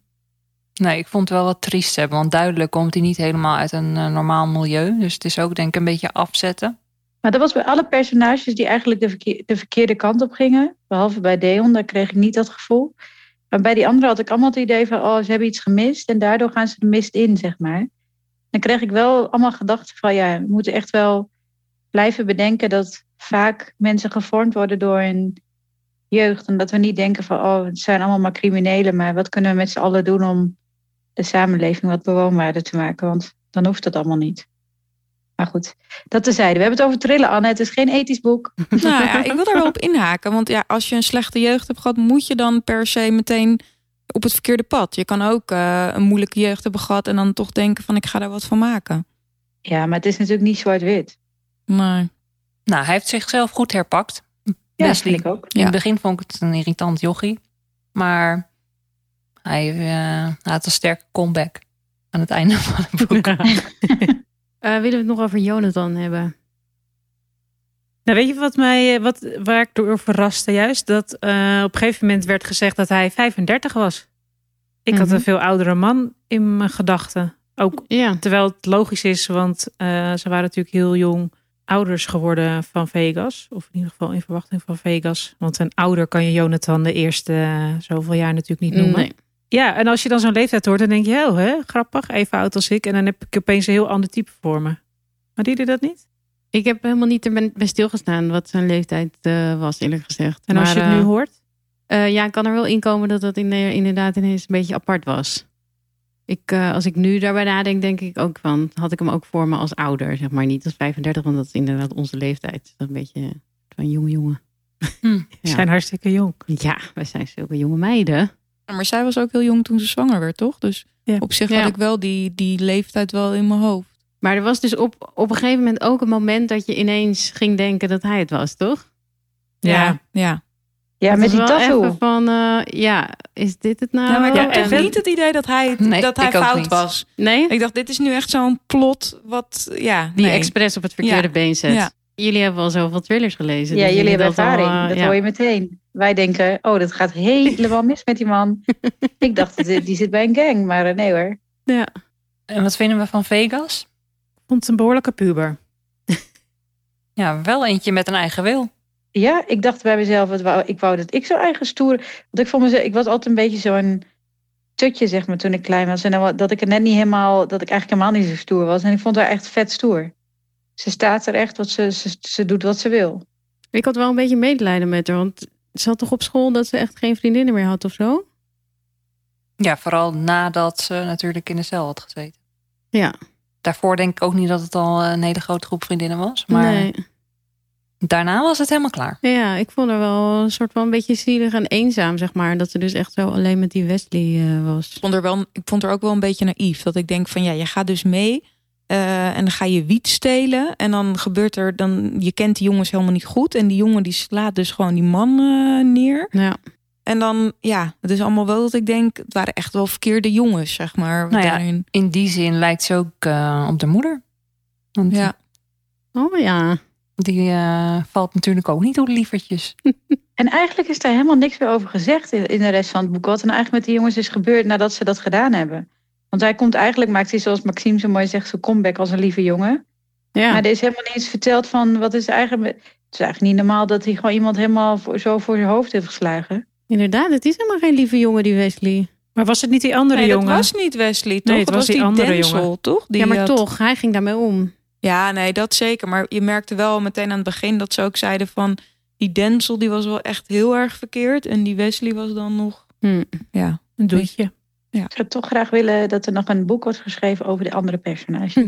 B: Nee, ik vond het wel wat triest hebben. Want duidelijk komt hij niet helemaal uit een eh, normaal milieu. Dus het is ook denk ik een beetje afzetten.
E: Maar dat was bij alle personages die eigenlijk de, verkeer- de verkeerde kant op gingen. Behalve bij Deon, daar kreeg ik niet dat gevoel. Maar bij die anderen had ik allemaal het idee van... oh, ze hebben iets gemist en daardoor gaan ze de mist in, zeg maar. Dan kreeg ik wel allemaal gedachten van... ja, we moeten echt wel blijven bedenken... dat vaak mensen gevormd worden door hun jeugd. En dat we niet denken van... oh, het zijn allemaal maar criminelen... maar wat kunnen we met z'n allen doen om de samenleving wat bewoonbaarder te maken? Want dan hoeft dat allemaal niet. Maar goed... Dat tezijde. We hebben het over trillen, Anne. Het is geen ethisch boek.
A: Nou ja, ik wil daar wel op inhaken. Want ja, als je een slechte jeugd hebt gehad, moet je dan per se meteen op het verkeerde pad. Je kan ook eh, een moeilijke jeugd hebben gehad en dan toch denken van ik ga daar wat van maken.
E: Ja, maar het is natuurlijk niet zwart-wit.
A: Maar
B: Nou, hij heeft zichzelf goed herpakt.
E: Ja,
B: Wesley.
E: vind ik ook.
B: In
A: Ja.
B: het begin vond ik het een irritant jochie. Maar hij eh, had een sterke comeback aan het einde van het boek.
C: Eh, willen we het nog over Jonathan hebben?
D: Nou, weet je wat mij, eh, wat, waar ik door verraste juist? Dat eh, op een gegeven moment werd gezegd dat hij 35 was. Ik had
C: Mhm.
D: een veel oudere man in mijn gedachten. Ook
C: Ja.
D: terwijl het logisch is, want eh, ze waren natuurlijk heel jong ouders geworden van Vegas. Of in ieder geval in verwachting van Vegas. Want een ouder kan je Jonathan de eerste eh, zoveel jaar natuurlijk niet noemen.
C: Nee.
D: Ja, en als je dan zo'n leeftijd hoort, dan denk je, oh, hè, grappig, even oud als ik. En dan heb ik opeens een heel ander type voor me. Maar die deed dat niet?
C: Ik heb helemaal niet erbij bij stilgestaan wat zijn leeftijd eh, was, eerlijk gezegd.
D: En als
C: Maar,
D: je het nu
C: eh,
D: hoort?
C: eh, ja, ik kan er wel inkomen dat dat in- eh, inderdaad ineens een beetje apart was. Ik, eh, als ik nu daarbij nadenk, denk ik ook van... had ik hem ook voor me als ouder, zeg maar. Niet als 35, want dat is inderdaad onze leeftijd. Dat is een beetje van jonge jongen.
B: Hm.
D: Ze zijn hartstikke jong.
C: Ja, wij zijn zulke jonge meiden.
A: Maar zij was ook heel jong toen ze zwanger werd, toch? Dus
D: Ja.
A: op zich
C: Ja.
A: had ik wel die, die leeftijd wel in mijn hoofd.
C: Maar er was dus op, op een gegeven moment ook een moment dat je ineens ging denken dat hij het was, toch?
D: Ja.
A: ja.
E: Ja,
C: Dat
E: met
C: was
E: die
C: wel
E: tattoo.
C: even Van, eh, ja, is dit het nou?
A: Ja, maar ik
D: Ja,
A: had
D: en-
A: echt niet het idee dat hij,
B: Nee,
A: dat hij
B: ik ook
A: fout
B: niet.
A: was.
C: Nee?
A: Ik dacht, dit is nu echt zo'n plot wat... Ja,
C: Die
A: nee.
C: expres op het verkeerde
A: Ja.
C: been zet.
A: Ja.
C: Jullie hebben al zoveel thrillers gelezen.
E: Ja,
C: dus
E: jullie hebben
C: dat al,
E: ervaring.
C: eh,
E: dat
C: ja.
E: hoor je meteen. Wij denken, oh, dat gaat helemaal mis met die man. ik dacht, eh, die, die zit bij een gang, maar eh, nee hoor.
B: En wat vinden we van Vegas?
D: vond het een behoorlijke puber.
B: Ja, wel eentje met een eigen wil.
E: Ja, ik dacht bij mezelf, het wou- ik wou dat ik zo eigen stoer... Want ik, vond mezelf, ik was altijd een beetje zo'n tutje, zeg maar, toen ik klein was. En dan wa- dat ik het net niet helemaal... Dat ik eigenlijk helemaal niet zo stoer was. En ik vond haar echt vet stoer. Ze staat er echt, wat ze, ze, ze doet wat ze wil.
C: Ik had wel een beetje medelijden met haar. Want ze had toch op school dat ze echt geen vriendinnen meer had of zo?
B: Ja, vooral nadat ze natuurlijk in de cel had gezeten.
C: Ja.
B: Daarvoor denk ik ook niet dat het al een hele grote groep vriendinnen was. Maar
C: Nee.
B: daarna was het helemaal klaar.
C: Ja, ik vond haar wel een soort van een beetje zielig en eenzaam, zeg maar. Dat ze dus echt zo alleen met die Wesley eh, was.
A: Ik vond, er wel, ik vond er ook wel een beetje naïef. Dat ik denk van ja, je gaat dus mee eh, en dan ga je wiet stelen. En dan gebeurt er, dan, je kent die jongens helemaal niet goed. En die jongen die slaat dus gewoon die man eh, neer.
C: Ja.
A: En dan ja, het is allemaal wel dat ik denk, het waren echt wel verkeerde jongens, zeg maar.
B: Nou ja.
A: daarin.
B: In die zin lijkt ze ook eh, op de moeder. Want
A: ja.
C: Oh ja.
B: die eh, valt natuurlijk ook niet door de lievertjes.
E: En eigenlijk is daar helemaal niks meer over gezegd in, in de rest van het boek. Wat er nou eigenlijk met die jongens is gebeurd nadat ze dat gedaan hebben. Want hij komt eigenlijk, maakt hij zoals Maxime zo mooi zegt, zijn comeback als een lieve jongen.
C: Ja.
E: Maar er is helemaal niet eens verteld van wat is eigenlijk. Het is eigenlijk niet normaal dat hij gewoon iemand helemaal voor, zo voor zijn hoofd heeft geslagen.
C: Inderdaad, het is helemaal geen lieve jongen, die Wesley.
D: Maar was het niet die andere
A: Nee, dat
D: jongen?
A: was niet Wesley, toch?
D: het was die andere
A: Denzel,
D: jongen.
A: toch? Die
C: ja, maar
E: eh,
A: had-
C: toch, hij ging daarmee om.
A: Ja, nee, dat zeker. Maar je merkte wel meteen aan het begin dat ze ook zeiden van... die Denzel, die was wel echt heel erg verkeerd. En die Wesley was dan nog...
C: Hm.
A: Ja,
D: Een doetje.
E: Ik zou toch graag willen dat er nog een boek wordt geschreven over de andere personages.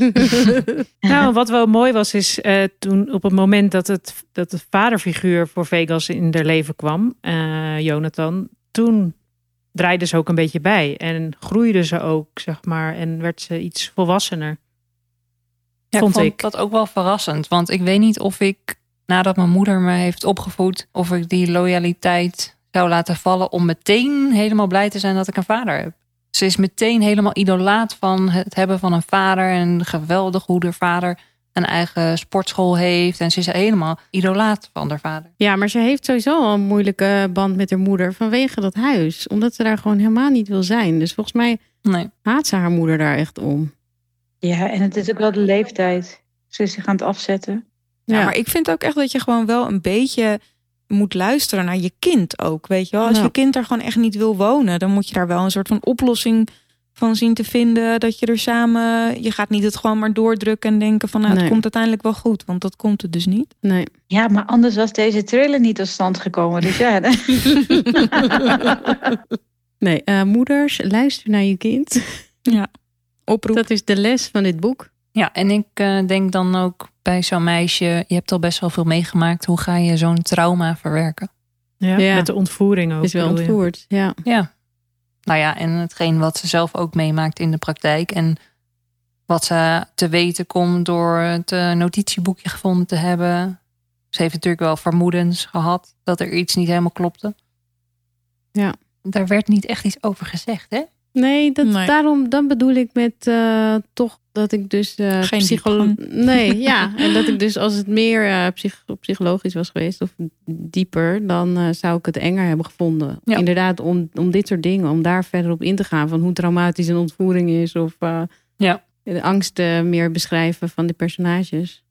D: Nou, wat wel mooi was, is eh, toen op het moment dat het, dat de vaderfiguur voor Vegas in haar leven kwam, eh, Jonathan, toen draaide ze ook een beetje bij en groeide ze ook, zeg maar, en werd ze iets volwassener.
B: Ja,
D: Vond
B: ik vond
D: ik.
B: dat ook wel verrassend. Want ik weet niet of ik, nadat mijn moeder me heeft opgevoed, of ik die loyaliteit zou laten vallen om meteen helemaal blij te zijn dat ik een vader heb. Ze is meteen helemaal idolaat van het hebben van een vader. Een geweldig goede vader. Een eigen sportschool heeft. En ze is helemaal idolaat van haar vader.
C: Ja, maar ze heeft sowieso al een moeilijke band met haar moeder vanwege dat huis. Omdat ze daar gewoon helemaal niet wil zijn. Dus volgens mij
B: Nee.
C: haat ze haar moeder daar echt om.
E: ja, en het is ook wel de leeftijd. Ze is zich aan het afzetten.
A: Ja, maar ik vind ook echt dat je gewoon wel een beetje moet luisteren naar je kind ook. Weet je wel, als
C: Ja.
A: je kind daar gewoon echt niet wil wonen, dan moet je daar wel een soort van oplossing van zien te vinden. Dat je er samen, je gaat niet het gewoon maar doordrukken en denken van nou, het
C: Nee.
A: komt uiteindelijk wel goed, want dat komt het dus niet.
C: Nee.
E: Ja, maar anders was deze trailer niet tot stand gekomen. Dus ja,
C: Nee, eh, moeders, luister naar je kind.
A: Oproep.
C: Dat is de les van dit boek.
B: Ja, en ik eh, denk dan ook bij zo'n meisje, je hebt al best wel veel meegemaakt. Hoe ga je zo'n trauma verwerken?
D: Ja,
C: Ja.
D: Met de ontvoering ook.
C: Is wel
D: bedoel je.
C: ontvoerd. Ja.
B: Ja. Nou ja, en hetgeen wat ze zelf ook meemaakt in de praktijk. En wat ze te weten komt door het eh, notitieboekje gevonden te hebben. Ze heeft natuurlijk wel vermoedens gehad dat er iets niet helemaal klopte.
C: Ja.
B: Daar werd niet echt iets over gezegd, hè?
C: Nee, dat,
A: Nee.
C: daarom dan bedoel ik met eh, toch dat ik dus eh
A: Geen
C: psycholo- Nee, ja. En dat ik dus als het meer eh, psych- psychologisch was geweest of dieper, dan eh, zou ik het enger hebben gevonden.
B: Ja.
C: Inderdaad, om, om dit soort dingen, om daar verder op in te gaan van hoe traumatisch een ontvoering is of eh,
B: Ja.
C: de angsten meer beschrijven van de personages.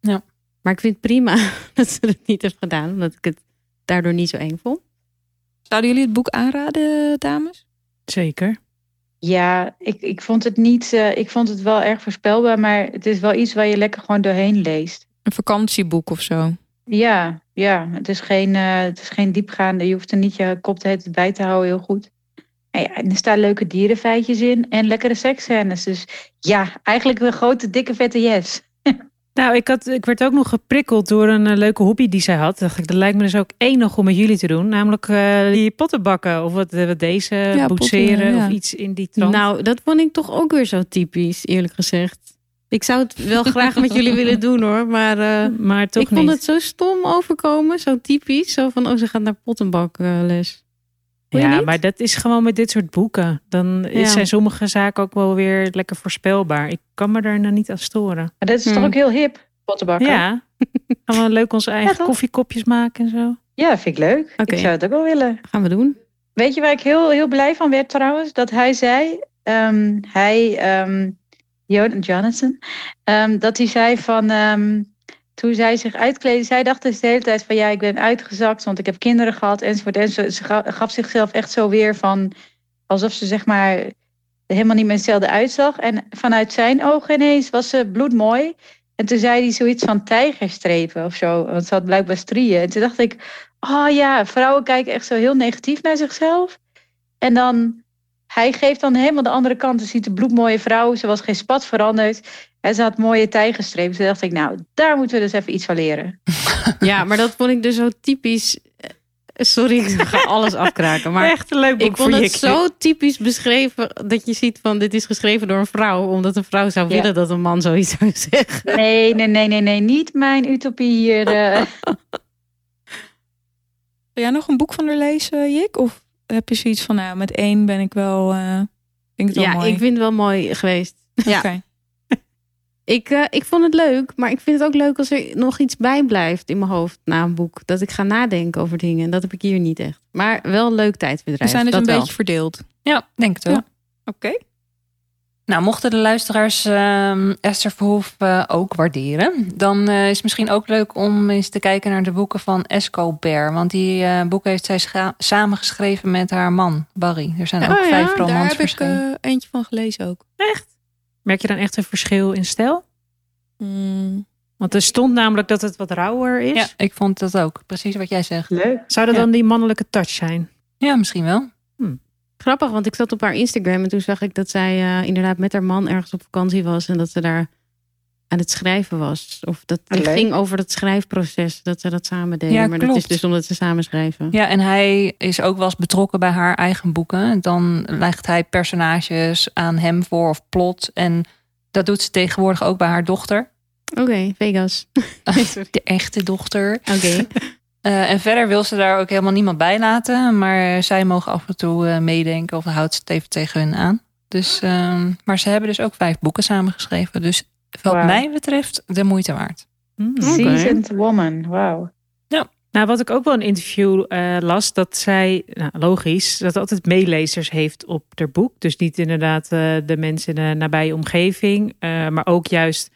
B: Ja.
C: Maar ik vind het prima dat ze het niet heeft gedaan, omdat ik het daardoor niet zo eng vond.
A: Zouden jullie het boek aanraden, dames?
D: Zeker.
E: Ja, ik, ik vond het niet. eh, ik vond het wel erg voorspelbaar, maar het is wel iets waar je lekker gewoon doorheen leest.
A: Een vakantieboek of zo.
E: Ja, ja. Het is geen, eh, het is geen diepgaande. Je hoeft er niet je kop de hele tijd bij te houden, heel goed. En, ja, en er staan leuke dierenfeitjes in en lekkere seksscènes. Dus ja, eigenlijk een grote, dikke, vette yes.
D: Nou, ik, had, ik werd ook nog geprikkeld door een eh, leuke hobby die zij had. Dacht ik, dat lijkt me dus ook enig om met jullie te doen. Namelijk eh, die potten bakken of wat, eh, wat deze,
A: Ja,
D: boetseren
A: potten, ja.
D: of iets in die trant.
C: Nou, dat vond ik toch ook weer zo typisch, eerlijk gezegd. Ik zou het wel graag met jullie willen doen hoor, maar eh,
D: maar toch
C: ik vond
D: niet.
C: het zo stom overkomen, zo typisch. Zo van, oh, ze gaat naar pottenbakles. Vond je
D: ja,
C: niet?
D: maar dat is gewoon met dit soort boeken. Dan
C: Ja.
D: is zijn sommige zaken ook wel weer lekker voorspelbaar. Ik kan me daar nou niet aan storen.
E: Maar dat is
C: Hmm.
E: toch ook heel hip, pottenbakken?
D: Ja, gaan we leuk onze eigen
E: toch?
D: koffiekopjes maken en zo.
E: Ja, vind ik leuk.
C: Oké.
E: Ik zou het ook wel willen.
C: Gaan we doen.
E: Weet je waar ik heel, heel blij van werd trouwens? Dat hij zei, ehm, hij, ehm, Jo- Jonathan, ehm, dat hij zei van, ehm, toen zij zich uitkleedde, zij dacht dus de hele tijd van, ja, ik ben uitgezakt, want ik heb kinderen gehad, enzovoort. En ze, ze ga- gaf zichzelf echt zo weer van, alsof ze zeg maar helemaal niet meer hetzelfde uitzag. En vanuit zijn ogen ineens was ze bloedmooi. En toen zei hij zoiets van tijgerstrepen of zo, want ze had blijkbaar strieën. En toen dacht ik, Oh ja, vrouwen kijken echt zo heel negatief naar zichzelf. En dan, hij geeft dan helemaal de andere kant. Dus ziet de bloedmooie vrouw, ze was geen spat veranderd. En ze had mooie tijgerstrepen. Toen dacht ik, nou, daar moeten we dus even iets van leren.
C: Ja, maar dat vond ik dus zo typisch. eh, Sorry, ik ga alles afkraken. Maar
D: Echt een leuk boek
C: ik vond
D: voor
C: het
D: je.
C: zo typisch beschreven dat je ziet van dit is geschreven door een vrouw. Omdat een vrouw zou
E: Ja.
C: willen dat een man zoiets zou zeggen.
E: Nee, nee, nee, nee, nee, niet mijn utopie hier. eh.
A: Wil jij nog een boek van haar lezen, Jik? Of heb je zoiets van, nou, met één ben ik wel, eh vind ik het wel
C: Ja,
A: mooi?
C: ik vind het wel mooi geweest. ja.
A: Oké.
C: Ik, eh, ik vond het leuk, maar ik vind het ook leuk als er nog iets bij blijft in mijn hoofd na een boek. Dat ik ga nadenken over dingen. En dat heb ik hier niet echt. Maar wel een leuk
A: We
C: tijdbedrijf.
A: zijn dus
C: dat
A: een
C: wel.
A: beetje verdeeld. Oké.
B: Ja, denk het wel.
A: Ja.
B: Nou, mochten de luisteraars ehm, Esther Verhoef eh, ook waarderen, dan eh, is het misschien ook leuk om eens te kijken naar de boeken van Escobar. Want die eh, boeken heeft zij scha- samengeschreven met haar man, Barry. Er zijn ook
A: Oh ja,
B: vijf
A: daar
B: romans
A: heb ik
B: verschenen.
A: eh, eentje van gelezen ook.
D: Merk je dan echt een verschil in stijl?
A: Hmm.
D: Want er stond namelijk dat het wat rauwer
A: eh,
D: is.
B: Ja, ik vond dat ook. Precies wat jij zegt.
E: Leuk.
D: Zou dat
B: Ja.
D: dan die mannelijke touch zijn?
B: Ja, misschien wel.
C: Grappig, want ik zat op haar Instagram en toen zag ik dat zij eh, inderdaad met haar man ergens op vakantie was en dat ze daar aan het schrijven was. Of dat het
E: Leuk.
C: ging over dat schrijfproces, dat ze dat samen deden.
B: Ja,
C: maar dat
B: klopt.
C: is dus omdat ze samen schrijven.
B: Ja, en hij is ook wel eens betrokken bij haar eigen boeken. Dan legt hij personages aan hem voor of plot. En dat doet ze tegenwoordig ook bij haar dochter.
C: Oké, Vegas.
B: De echte dochter.
C: Oké.
B: Eh, en verder wil ze daar ook helemaal niemand bij laten. Maar zij mogen af en toe eh, meedenken of houdt ze het even tegen hun aan. Dus, ehm, maar ze hebben dus ook vijf boeken samengeschreven. Dus wat
E: Wauw.
B: mij betreft de moeite waard.
D: Hmm.
E: Seasoned woman, wauw.
D: Nou, wat ik ook wel in een interview eh, las, dat zij, nou, logisch, dat altijd meelezers heeft op haar boek. Dus niet inderdaad eh, de mensen in de nabije omgeving, eh, maar ook juist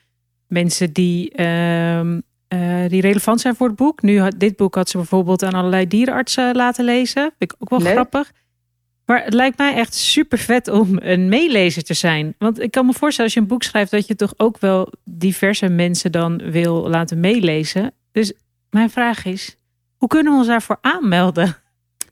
D: mensen die, ehm, eh, die relevant zijn voor het boek. Nu, had- dit boek had ze bijvoorbeeld aan allerlei dierenartsen laten lezen. Vind ik ook wel
E: Leuk.
D: grappig. Maar het lijkt mij echt super vet om een meelezer te zijn. Want ik kan me voorstellen, als je een boek schrijft, dat je toch ook wel diverse mensen dan wil laten meelezen. Dus mijn vraag is, hoe kunnen we ons daarvoor aanmelden?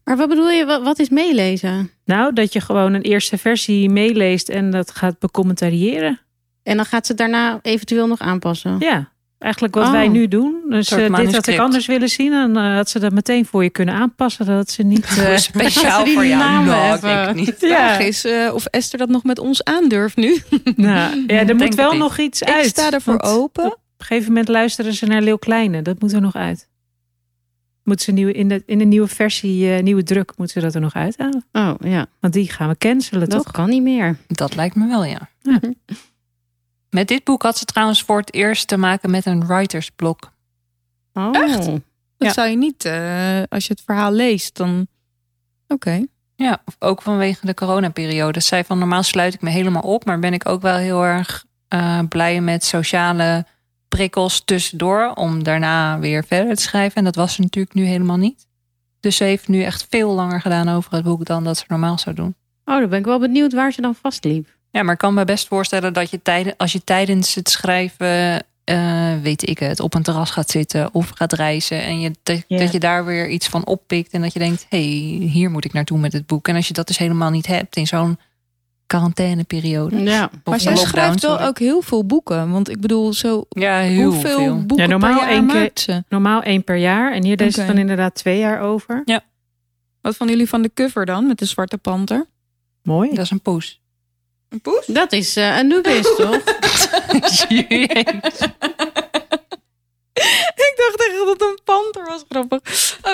C: Maar wat bedoel je, wat, wat is meelezen?
D: Nou, dat je gewoon een eerste versie meeleest en dat gaat becommentariëren.
C: En dan gaat ze het daarna eventueel nog aanpassen.
D: Ja, eigenlijk wat
C: Oh.
D: wij nu doen. Dus
B: soort
D: eh, dit had ik
B: manuscript.
D: anders willen zien. Dan eh, had ze dat meteen voor je kunnen aanpassen. Dat ze niet... eh,
B: Speciaal
C: die
B: voor jou.
C: namen
B: Nou, ik
C: even-
B: denk het niet.
A: Vraag is eh, of Esther dat nog met ons aandurft nu.
D: nou, ja, er
B: Denk
D: moet
B: het
D: wel
B: niet.
D: nog iets uit.
A: ik sta ervoor
D: want
A: open.
D: Op een gegeven moment luisteren ze naar Leeuw Kleine. Dat moet er nog uit. Moet ze nieuwe, in, de, in de nieuwe versie, eh, nieuwe druk, moeten ze dat er nog uithalen.
C: Oh ja,
D: Want die gaan we cancelen,
C: dat,
D: toch?
C: kan niet meer.
B: Dat lijkt me wel, ja.
D: Ja.
B: Met dit boek had ze trouwens voor het eerst te maken met een writersblok.
C: Oh.
A: Echt? Dat
D: Ja.
A: zou je niet, eh, als je het verhaal leest, dan... Oké.
B: Ja, ook vanwege de coronaperiode. Zij zei van normaal sluit ik me helemaal op, maar ben ik ook wel heel erg eh, blij met sociale prikkels tussendoor om daarna weer verder te schrijven. En dat was ze natuurlijk nu helemaal niet. Dus ze heeft nu echt veel langer gedaan over het boek dan dat ze normaal zou doen.
C: Oh, dan ben ik wel benieuwd waar ze dan vastliep.
B: Ja, maar ik kan me best voorstellen dat je tijden, als je tijdens het schrijven, eh, weet ik het, op een terras gaat zitten of gaat reizen. En je, dat,
E: Ja.
B: dat je daar weer iets van oppikt en dat je denkt, hé, hey, hier moet ik naartoe met het boek. En als je dat dus helemaal niet hebt in zo'n quarantaineperiode.
C: Ja.
A: Maar zij
B: lockdown,
A: schrijft wel
B: sorry.
A: ook heel veel boeken. Want ik bedoel, zo
B: Ja, heel
A: hoeveel
B: veel.
A: boeken
D: Ja, normaal
A: per jaar
D: één keer-
A: maakt ze?
D: Normaal één per jaar. En hier deze
A: Oké.
D: dan inderdaad twee jaar over.
A: Wat van jullie van de cover dan, met de zwarte panter?
D: Mooi.
B: Dat is een poes.
A: Een poes?
C: Dat is eh Anubis, toch?
A: ik dacht echt dat het een panter was, grappig.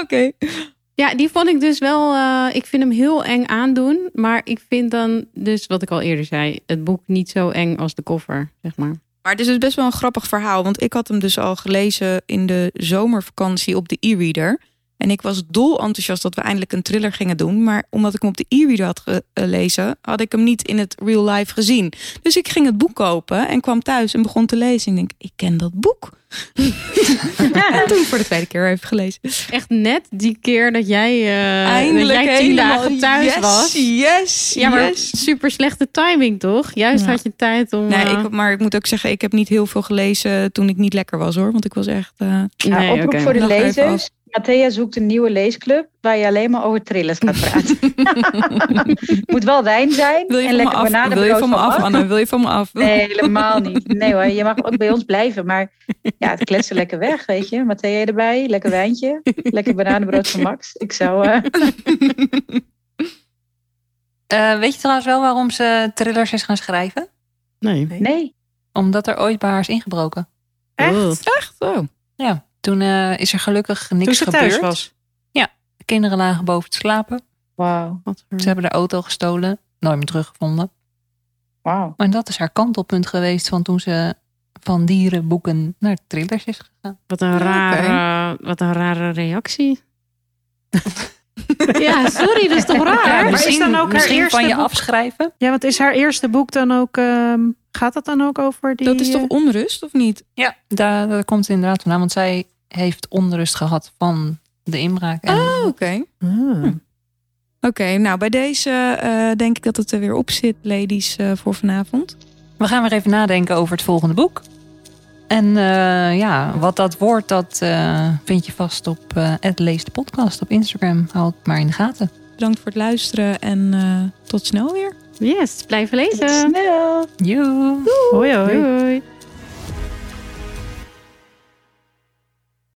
A: Oké.
C: Ja, die vond ik dus wel. eh, ik vind hem heel eng aandoen. Maar ik vind dan, dus wat ik al eerder zei, het boek niet zo eng als de koffer, zeg maar.
A: Maar het is dus best wel een grappig verhaal. Want ik had hem dus al gelezen in de zomervakantie op de e-reader. En ik was dol enthousiast dat we eindelijk een thriller gingen doen. Maar omdat ik hem op de e-reader had ge- gelezen, had ik hem niet in het real life gezien. Dus ik ging het boek kopen en kwam thuis en begon te lezen. En ik denk, ik ken dat boek. en toen voor de tweede keer even gelezen.
C: Echt net die keer dat jij, eh, dat jij tien
A: helemaal-
C: dagen thuis
A: yes,
C: was.
A: Yes,
C: Ja, maar
A: yes.
C: super slechte timing, toch? Juist
A: Ja.
C: had je tijd om.
A: Nee,
C: eh,
A: ik, maar ik moet ook zeggen, ik heb niet heel veel gelezen toen ik niet lekker was hoor. Want ik was echt. eh,
E: Nou,
C: nee,
E: oproep
C: oké.
E: voor de
A: Nog even af.
E: lezers. Matthea zoekt een nieuwe leesclub waar je alleen maar over thrillers gaat praten. Moet wel wijn zijn
A: wil je
E: en
A: van me
E: lekker
A: af?
E: bananen.
A: Wil je van me af, Anne? Wil je van me af?
E: Nee, helemaal niet. Nee hoor, je mag ook bij ons blijven. Maar ja, het kletsen lekker weg, weet je. Matthea erbij, lekker wijntje, lekker bananenbrood van Max. Ik zou... eh,
B: Eh, weet je trouwens wel waarom ze thrillers is gaan schrijven?
C: Nee.
E: nee,
B: Omdat er ooit bij haar is ingebroken.
C: Oh.
D: Echt?
A: Echt? Oh.
B: Ja, toen eh, is er gelukkig niks
D: Toen ze
B: gebeurd.
D: thuis was.
B: De kinderen lagen boven te slapen.
E: wauw.
C: Wat
B: Ze
C: voor...
B: hebben de auto gestolen. Nooit meer teruggevonden.
E: Wauw.
B: En dat is haar kantelpunt geweest van toen ze van dierenboeken naar thrillers is gegaan.
C: Wat een rare, wat een rare reactie. ja, sorry, dat is toch raar?
D: maar Ah, is
B: misschien
D: dan ook haar
B: misschien
D: eerste
B: van je
D: boek?
B: afschrijven.
D: Ja, want is haar eerste boek dan ook... ehm, gaat dat dan ook over die... eh,
A: Dat is toch onrust, of niet?
B: Ja, daar, daar komt het inderdaad vandaan. Want zij heeft onrust gehad van de inbraak. En
A: Oh, oké.
D: eh, ah.
A: Oké, nou bij deze eh, denk ik dat het er weer op zit, ladies, eh, voor vanavond.
B: We gaan weer even nadenken over het volgende boek. En eh, ja, wat dat wordt, dat eh, vind je vast op eh Lees de Podcast op Instagram. Hou het maar in de gaten.
A: Bedankt voor het luisteren en eh, tot snel weer.
C: Yes, blijf lezen.
E: Snel.
B: Joe!
D: Hoi hoi.
C: Doei.